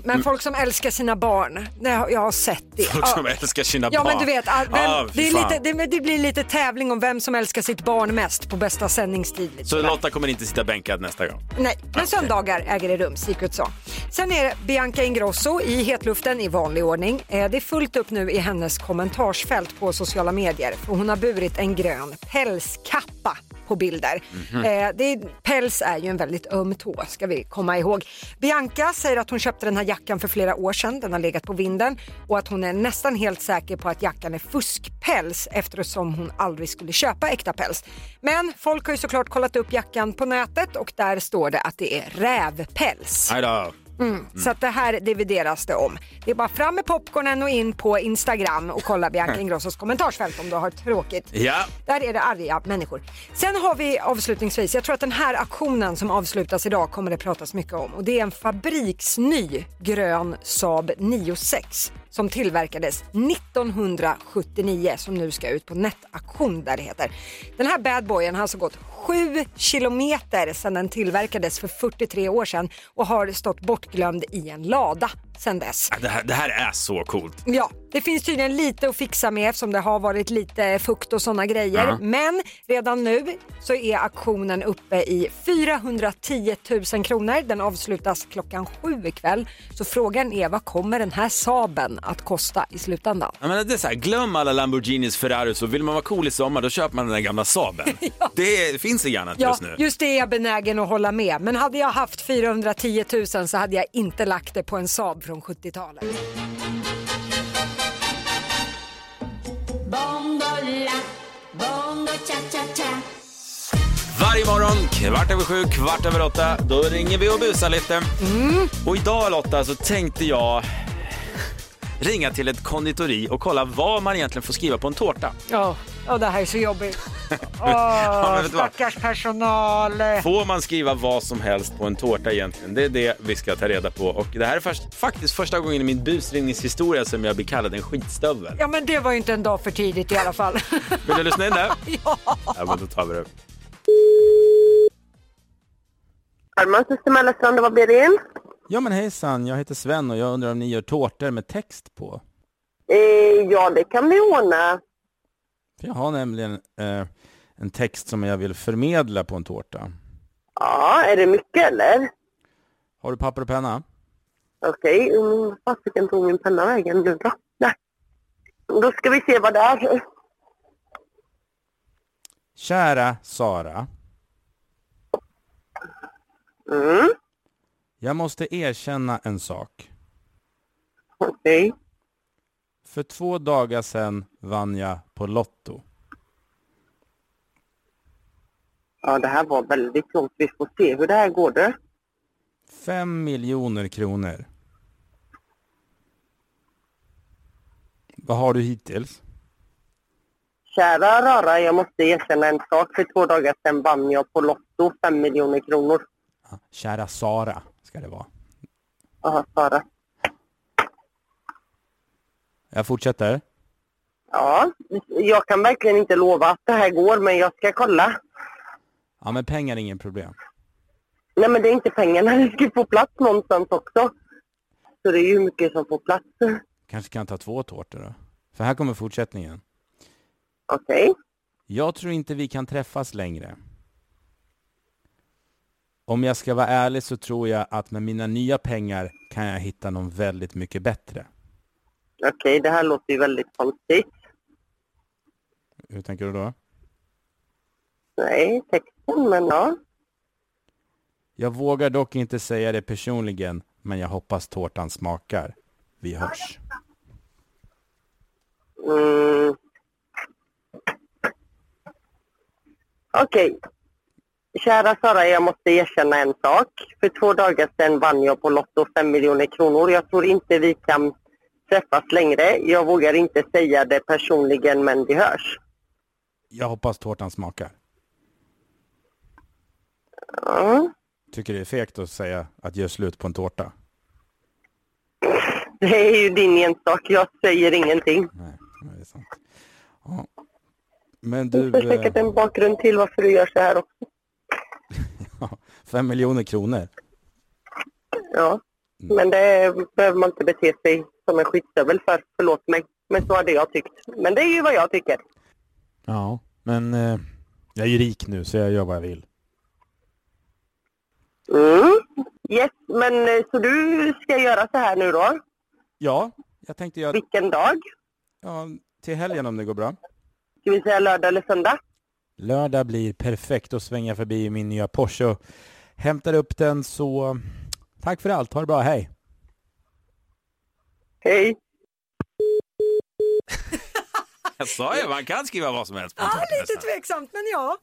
Men folk som älskar sina barn, det har, jag har sett det.
Folk
Ja.
som älskar sina
Ja
barn.
men du vet, ah, vem,
Ja, fy
det, är
fan.
lite, det, det blir lite tävling om vem som älskar sitt barn mest på bästa sändningstid. liksom. lite
Så
sådär.
Lotta kommer inte sitta bänkad nästa gång.
Nej, men söndagar äger det rum, Secret Song. Sen är det Bianca Ingrosso i hetluften i vanlig ordning. Eh, Det är fullt upp nu i hennes kommentarsfält på sociala medier för hon har burit en grön pälskappa på bilder.
Mhm.
Eh, det är, päls är ju en väldigt öm tå ska vi komma ihåg. Bianca säger att hon köpte den här jackan för flera år sedan, den har legat på vinden och att hon är nästan helt säker på att jackan är fuskpäls eftersom hon aldrig skulle köpa äkta päls. Men folk har ju såklart kollat upp jackan på nätet och där står det att det är rävpäls.
Aj då.
Mm. Så att det här divideras det om. Det är bara fram med popcornen och in på Instagram och kolla Bianca Ingrossos kommentarsfält om du har tråkigt.
Ja.
Där är det arga människor. Sen har vi avslutningsvis, jag tror att den här aktionen som avslutas idag kommer det pratas mycket om och det är en fabriksny grön Saab 96 som tillverkades 1979 som nu ska ut på nätauktion där det heter. Den här badboyen har alltså gått 7 kilometer sedan den tillverkades för 43 år sedan och har stått bortglömd i en lada sen dess.
Ja, Det här, det här är så coolt.
Ja, det finns tydligen lite att fixa med eftersom det har varit lite fukt och sådana grejer.
Ja.
Men redan nu så är auktionen uppe i 410 000 kronor. Den avslutas klockan sju ikväll. Så frågan är vad kommer den här Saben att kosta i slutändan?
Jag menar, det är så här, glöm alla Lamborghinis, Ferraris och vill man vara cool i sommar då köper man den där gamla Saaben. Det är, finns inget annat
Ja,
just nu.
just det är jag benägen att hålla med. Men hade jag haft 410 000 så hade jag inte lagt det på en Saab från 70-talet.
bongo la, bongo cha cha cha.
Varje morgon, kvart över sju, kvart över åtta, då ringer vi och busar lite. Och idag Lotta så tänkte jag ringa till ett konditori och kolla vad man egentligen får skriva på en tårta.
Ja, ja, det här är så jobbigt. Åh,
Ja, men vet du vad?
stackars personal.
Får man skriva vad som helst på en tårta egentligen? Det är det vi ska ta reda på. Och det här är först, faktiskt första gången i min busringningshistoria som jag blir kallad en skitstövel.
Ja, men det var ju inte en dag för tidigt i alla fall.
Vill du lyssna in det? Ja, men då tar vi det.
Armans system Alessandro, vad blir det in?
Ja men hejsan, jag heter Sven och jag undrar om ni gör tårtor med text på?
Eh, ja, det kan vi ordna.
För jag har nämligen eh, en text som jag vill förmedla på en tårta.
Ja, är det mycket eller?
Har du papper och penna?
Okej, okay. um, fasiken tog min penna vägen nu då? Nej. Då ska vi se vad det är.
Kära Sara.
Mm.
Jag måste erkänna en sak.
Okej.
För två dagar sedan vann jag på Lotto.
Ja, det här var väldigt långt. Vi får se hur det här går du.
Fem miljoner kronor. Vad har du hittills?
Kära rara, jag måste erkänna en sak. För två dagar sedan vann jag på Lotto 5 miljoner kronor.
Kära Sara ska det vara.
Ja, Sara.
Jag fortsätter.
Ja, jag kan verkligen inte lova att det här går, men jag ska kolla.
Ja, men pengar är ingen problem.
Nej men det är inte pengarna, det ska ju få plats någonstans också. Så det är ju mycket som får plats.
Kanske kan ta två tårtor då? För här kommer fortsättningen.
Okej.
Jag tror inte vi kan träffas längre. Om jag ska vara ärlig så tror jag att med mina nya pengar kan jag hitta någon väldigt mycket bättre.
Okej, det här låter ju väldigt konstigt.
Hur tänker du då?
Nej, texten, men ja.
Jag vågar dock inte säga det personligen, men jag hoppas tårtan smakar. Vi hörs.
Mm. Okej. Kära Sara, jag måste erkänna en sak. För två dagar sedan vann jag på Lotto 5 miljoner kronor. Jag tror inte vi kan träffas längre. Jag vågar inte säga det personligen, men vi hörs.
Jag hoppas tårtan smakar.
Ja.
Tycker det är fegt att säga att göra slut på en tårta?
Det är ju din ensak. Jag säger ingenting.
Men
Du
du,
får säkert
eh,
en bakgrund till varför du gör så här också.
fem miljoner kronor.
Ja. Men det behöver man inte bete sig som en skitstövel för. Förlåt mig. Men så hade jag tyckt. Men det är ju vad jag tycker.
Ja, men eh, jag är ju rik nu så jag gör vad jag vill.
Mm. Yes, men eh, så du ska göra så här nu då?
Ja, jag tänkte göra...
Vilken dag?
Ja, till helgen om det går bra.
Ska vi säga lördag eller söndag?
Lördag blir perfekt och svänga förbi i min nya Porsche och hämtar upp den så tack för allt, ha det bra, hej!
Hej!
Jag sa ju, man kan skriva vad som helst på en
Ja,
tårta.
lite tveksamt, men ja.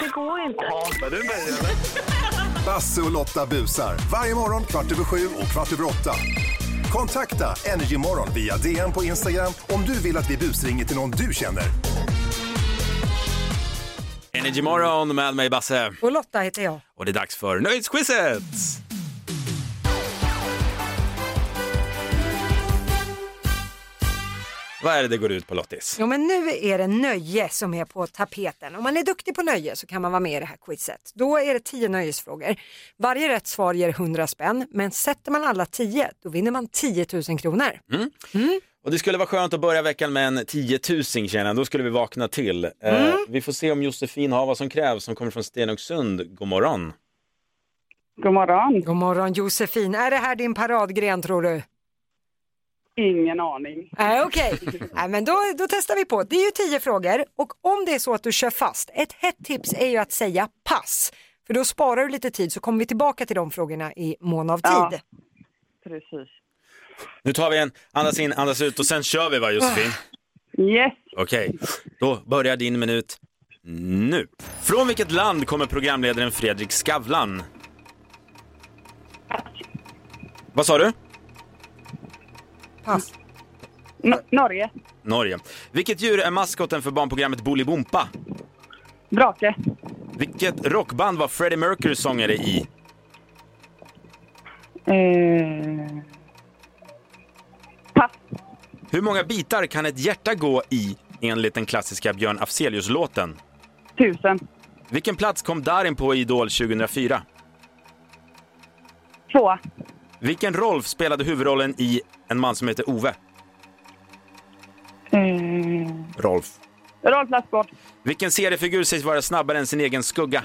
Det går inte. Basse och Lotta busar. Varje morgon kvart över sju och kvart över åtta. Kontakta Energymorgon via DM på Instagram om du vill att vi busringer till någon du känner.
Energy Morgon med mig Basse.
Och Lotta heter jag.
Och det är dags för Nöjesquizet! Vad är det det går ut på Lottis?
Jo, men nu är det nöje som är på tapeten. Om man är duktig på nöje så kan man vara med i det här quizet. Då är det tio nöjesfrågor. Varje rätt svar ger 100 spänn, men sätter man alla tio, då vinner man 10 000 kronor.
Mm. Och det skulle vara skönt att börja veckan med en 10 000 känner jag. då skulle vi vakna till. Eh,
Mm.
vi får se om Josefin har vad som krävs, som kommer från Stenungsund. God morgon.
God morgon. God morgon Josefin. Är det här din paradgren tror du?
Ingen aning.
Nej, okej. Nej, men då, då testar vi på. Det är ju tio frågor och om det är så att du kör fast, ett hett tips är ju att säga pass. För då sparar du lite tid så kommer vi tillbaka till de frågorna i mån av tid.
Ja. Precis.
Nu tar vi en, andas in, andas ut och sen kör vi va Josefin?
Yes.
Okej, då börjar din minut nu. Från vilket land kommer programledaren Fredrik Skavlan? Vad sa du?
Pass.
No- Norge.
Norge. Vilket djur är maskoten för barnprogrammet Bolibompa?
Drake.
Vilket rockband var Freddie Mercury sångare i?
Eh,
Hur många bitar kan ett hjärta gå i enligt den klassiska Björn Afzelius-låten?
tusen.
Vilken plats kom Darin på i Idol 2004?
Två.
Vilken Rolf spelade huvudrollen i En man som heter Ove?
Eh,
Mm.
Rolf.
Rolf Lassgård.
Vilken seriefigur sägs vara snabbare än sin egen skugga?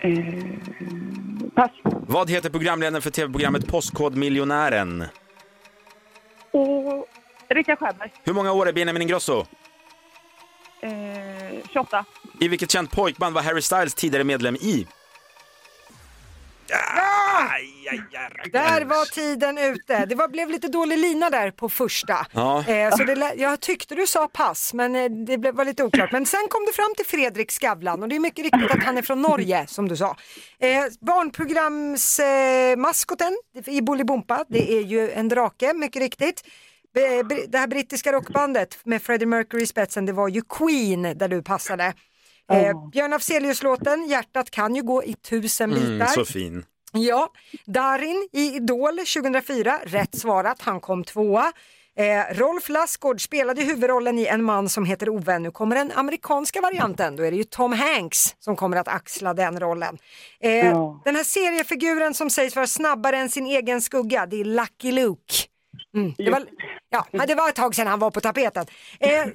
Eh,
Vad heter programledaren för tv-programmet Postkodmiljonären?
och Rickard Stjernberg.
Hur många år är Benjamin Ingrosso?
Eh, 28.
I vilket känt pojkband var Harry Styles tidigare medlem i?
Där var tiden ute. Det var, blev lite dålig lina där på första.
Ja.
Eh, så det, lä- jag tyckte du sa pass, men eh, det blev, var lite oklart. Men sen kom du fram till Fredrik Skavlan och det är mycket riktigt att han är från Norge, som du sa. Eh, barnprogramsmaskoten eh, maskoten i Bolibompa, det är ju en drake, mycket riktigt. Be- br- Det här brittiska rockbandet med Freddie Mercury i spetsen, det var ju Queen där du passade. Eh, Björn Afzelius-låten Hjärtat kan ju gå i tusen bitar.
Mm, så fin.
Ja, Darin i Idol 2004, rätt svarat, han kom tvåa. Eh, Rolf Lassgård spelade huvudrollen i En man som heter Ove. Nu kommer den amerikanska varianten, då är det ju Tom Hanks som kommer att axla den rollen. Eh,
Ja.
Den här seriefiguren som sägs vara snabbare än sin egen skugga, det är Lucky Luke. Mm, det, var, ja, men det var ett tag sedan han var på tapeten. Eh,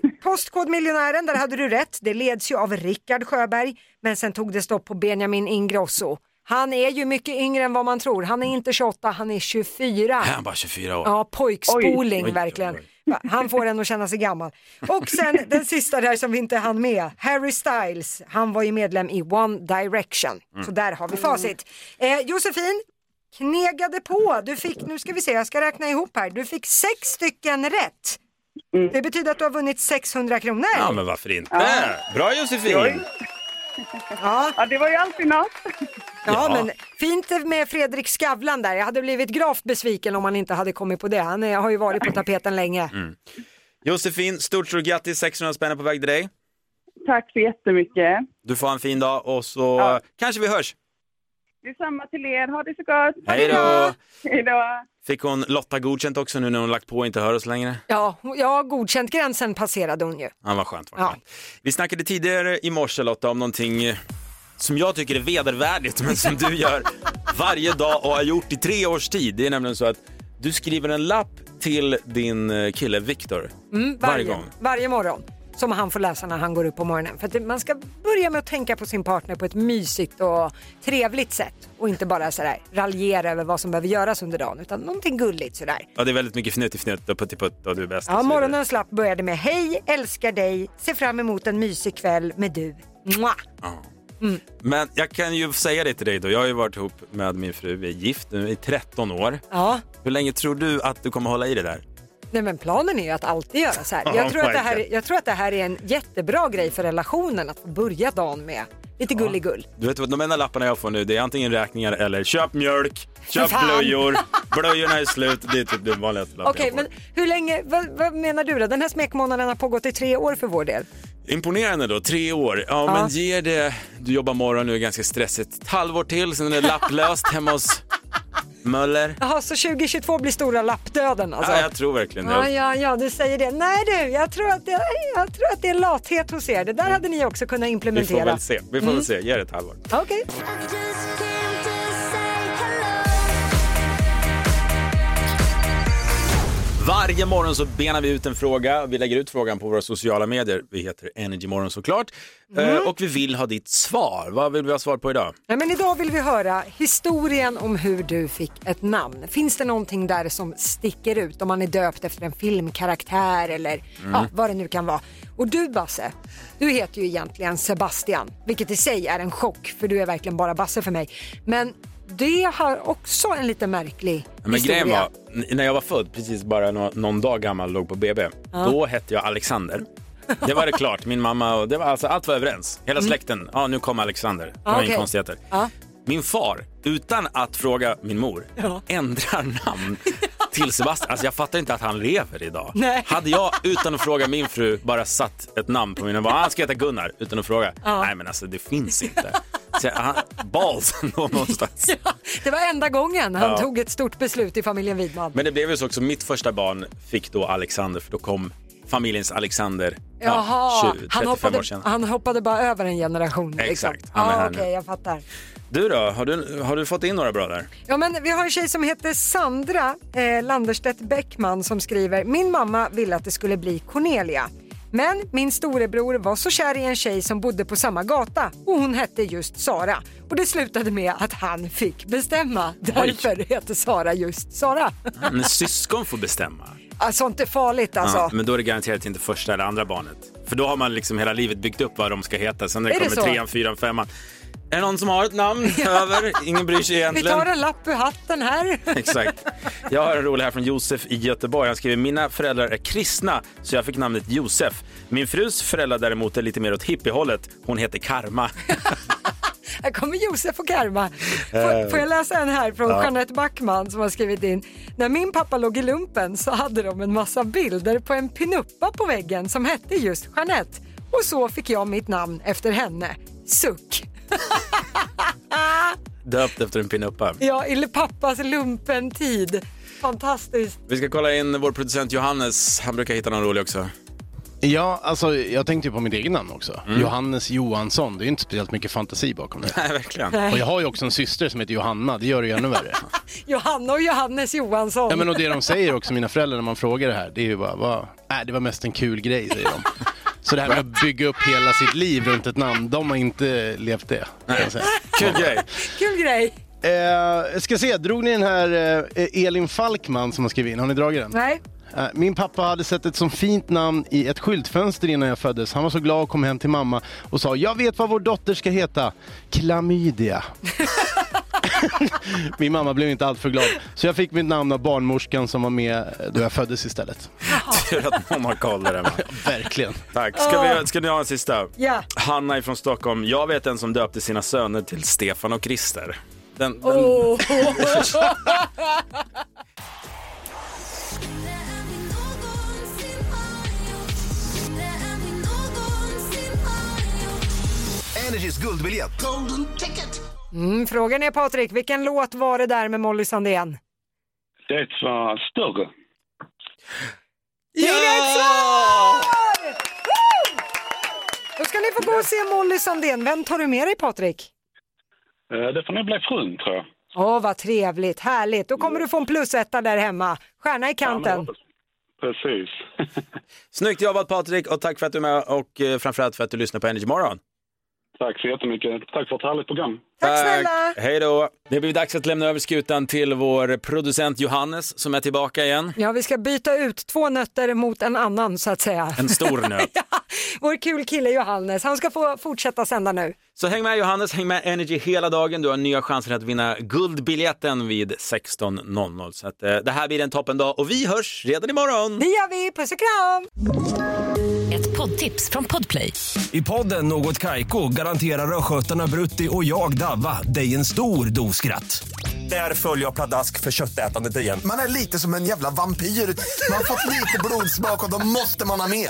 postkodmiljonären, där hade du rätt. Det leds ju av Rickard Sjöberg, men sen tog det stopp på Benjamin Ingrosso. Han är ju mycket yngre än vad man tror. Han är inte 28, han är 24.
Han bara 24 år.
Ja, pojkspoling
Oj.
verkligen. Va, Han får en att känna sig gammal. Och sen den sista där som vi inte hann med, Harry Styles. Han var ju medlem i One Direction.
Mm.
Så där har vi facit. Eh, Josefin, knegade på. Du fick, nu ska vi se, jag ska räkna ihop här. Du fick sex stycken rätt. Det betyder att du har vunnit 600 kronor.
Ja, men varför inte?
Ja.
Bra Josefin!
Oj. Ja.
det var ju alltid något.
Ja,
Ja.
men fint med Fredrik Skavlan där. Jag hade blivit gravt besviken om han inte hade kommit på det. Han eh, har ju varit på tapeten länge.
Mm. Josefin, stort stort grattis! 600 spänn är på väg till dig.
Tack så jättemycket.
Du får ha en fin dag och så kanske vi hörs.
Detsamma till er. Ha det så gott.
Hej då!
Hej då.
Fick hon Lotta godkänt också nu när hon lagt på och inte hör oss längre?
Ja, hon- ja, godkänt gränsen passerade hon ju.
Ja, vad skönt. Vad
Ja.
skönt. Vi snackade tidigare i morse Lotta om någonting eh, som jag tycker är vedervärdigt men som du gör varje dag och har gjort i tre års tid. Det är nämligen så att du skriver en lapp till din eh, kille Viktor
Mm,
varje gång.
Varje morgon. Som han får läsa när han går upp på morgonen. För att det- man ska börja med att tänka på sin partner på ett mysigt och trevligt sätt. Och inte bara sådär raljera över vad som behöver göras under dagen. Utan någonting gulligt sådär.
Ja, det är väldigt mycket fnutt i fnutt och putt i putt och du är bäst. och
Ja,
så vidare.
morgonens lapp började med Hej, älskar dig, ser fram emot en mysig kväll med du. Mwah. Mm.
Men jag kan ju säga det till dig då. Jag har ju varit ihop med min fru, vi är gift nu i 13 år.
Ja.
Hur länge tror du att du kommer hålla i det där?
Nej men planen är ju att alltid göra så här.
Oh
Jag tror, att det
my
här
God.
jag tror att det här är en jättebra grej för relationen att få börja dagen med. Lite gulligull.
Du vet vad de enda lapparna jag får nu det är antingen räkningar eller köp mjölk, köp
Fan.
blöjor, blöjorna är slut. Det är typ den vanligaste lappen
Okej,
jag får.
men hur länge, vad, vad menar du då? Den här smekmånaden har pågått i tre år för vår del.
Imponerande då, tre år. Ja,
Ja.
men ger det, du jobbar morgon nu, är ganska stressigt. Ett halvår till, sen är det lapplöst hemma hos Möller.
Jaha, så 2022 blir stora lappdöden alltså?
Ja, jag tror verkligen
Ja,
det.
ja, ja, du säger det. Nej du, jag tror, att det, jag tror att det är lathet hos er. Det där hade ni också kunnat
Mm. Vi
implementera.
får väl se. Vi får
Mm.
väl se. Ge det ett halvår.
Okej.
Varje morgon så benar vi ut en fråga. Vi lägger ut frågan på våra sociala medier. Vi heter Energymorgon såklart.
Mm.
Eh, och vi vill ha ditt svar. Vad vill vi ha svar på idag?
Nej, men idag vill vi höra historien om hur du fick ett namn. Finns det någonting där som sticker ut om man är döpt efter en filmkaraktär eller
Mm.
ja, vad det nu kan vara. Och du Basse, du heter ju egentligen Sebastian, vilket i sig är en chock för du är verkligen bara Basse för mig. Men det har också en lite märklig
Ja, Men
historia.
grejen var, n- när jag var född, precis bara nå- någon dag gammal, låg på BB,
Ja.
då hette jag Alexander. Det var det klart, min mamma och det var alltså, allt var överens. Hela släkten, ja nu kom Alexander. Det
Ja,
var inga
Mm. okej.
konstigheter.
Ja.
Min far, utan att fråga min mor, ändrar namn till Sebastian. Alltså jag fattar inte att han lever idag.
Nej.
Hade jag utan att fråga min fru bara satt ett namn på mina barn, han ska heta Gunnar, utan att fråga.
Ja.
Nej men alltså det finns inte. Så, han, balls ändå någonstans.
Det var enda gången han
Ja.
tog ett stort beslut i familjen Widman.
Men det blev ju så också, mitt första barn fick då Alexander för då kom familjens Alexander ja,
Jaha,
20, 35
han hoppade, Ah.
år sedan.
han hoppade bara över en generation. liksom.
Exakt, han är
Ja,
här
okej,
nu.
jag fattar.
Du då, har du, har du fått in några bra där?
Ja, men vi har en tjej som heter Sandra eh, Landerstedt Bäckman som skriver Min mamma ville att det skulle bli Cornelia. Men min storebror var så kär i en tjej som bodde på samma gata och hon hette just Sara. Och det slutade med att han fick bestämma. Därför heter Sara just Sara.
Ja, Men syskon får bestämma.
Ah, Sånt är farligt alltså.
Ja, men då är det garanterat inte första eller andra barnet. För då har man liksom hela livet byggt upp vad de ska heta. Sen när det
Är det
kommer
så?
trean, fyran, femman. Är det någon som har ett namn över? Ingen bryr sig
Vi
egentligen.
tar en lapp ur hatten här.
Exakt. Jag har en rolig här från Josef i Göteborg. Han skriver mina föräldrar är kristna så jag fick namnet Josef. Min frus föräldrar däremot är lite mer åt hippiehållet. Hon heter Karma.
Här kommer Josef och Karma. Får,
Eh.
får jag läsa en här från
Ja.
Jeanette Backman som har skrivit in. När min pappa låg i lumpen så hade de en massa bilder på en pinuppa på väggen som hette just Jeanette. Och så fick jag mitt namn efter henne. Suck.
Döpt efter en pinuppa.
Ja, i pappas lumpentid. Fantastiskt.
Vi ska kolla in vår producent Johannes. Han brukar hitta någon rolig också.
Ja, alltså jag tänkte ju på mitt eget namn också. Johannes Johansson, det är ju inte speciellt mycket fantasi bakom det.
Nej, verkligen.
Nej.
Och jag har ju också en syster som heter Johanna, det gör det ju ännu värre.
Johanna och Johannes Johansson.
Ja, men och det de säger också, mina föräldrar, när man frågar det här, det är ju bara, vad, äh, det var mest en kul grej, säger de. Så det här med att bygga upp hela sitt liv runt ett namn, de har inte levt det. kan jag säga.
Kul grej.
Kul grej.
Eh, jag ska se, drog ni den här eh, Elin Falkman som har skrivit in? Har ni dragit den?
Nej.
Eh, Min pappa hade sett ett så fint namn i ett skyltfönster innan jag föddes. Han var så glad och kom hem till mamma och sa “Jag vet vad vår dotter ska heta, klamydia”. Min mamma blev inte alltför glad, så jag fick mitt namn av barnmorskan som var med då jag föddes istället.
Tur att någon har koll där hemma.
Verkligen.
Tack. Ska, vi, ska ni ha en sista?
Ja.
Hanna från Stockholm. Jag vet en som döpte sina söner till Stefan och Christer. Den, den,
Mm.
Åh.
Energys guldbiljett. Golden ticket.
Mm, frågan är Patrik, vilken låt var det där med Molly Sandén?
Det var större.
Det är rätt svar! Woo! Då ska ni få gå och se Molly Sandén. Vem tar du med dig Patrik?
Eh, Det får nog bli frun, tror jag.
Åh, vad trevligt, härligt. Då kommer du få en plusetta där hemma. Stjärna i kanten.
Precis.
Snyggt jobbat Patrik och tack för att du är med och eh, framförallt för att du lyssnar på Energy Morgon.
Tack så jättemycket. Tack för ett härligt program.
Tack snälla! Hej då! Det blir dags att lämna över skutan till vår producent Johannes som är tillbaka igen.
Ja, vi ska byta ut två nötter mot en annan så att säga.
En stor nöt.
Vår kul kille Johannes, han ska få fortsätta sända nu.
Så häng med Johannes, häng med Energy hela dagen. Du har nya chanser att vinna guldbiljetten vid 16.00. Så att, eh, det här blir en toppendag och vi hörs redan imorgon!
Det gör vi, puss och kram!
Ett poddtips från Podplay.
I podden Något Kaiko garanterar östgötarna Brutti och jag, Davva, dig en stor dos skratt. Där följer jag pladask för köttätandet igen.
Man är lite som en jävla vampyr. Man har fått lite blodsmak och då måste man ha mer.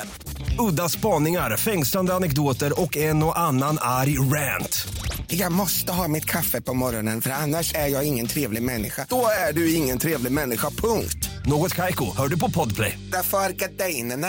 Udda spaningar, fängslande anekdoter och en och annan arg rant.
Jag måste ha mitt kaffe på morgonen för annars är jag ingen trevlig människa. Då är du ingen trevlig människa, punkt.
Något Kaiko, hör du på Podplay.
Därför arkadeinerna.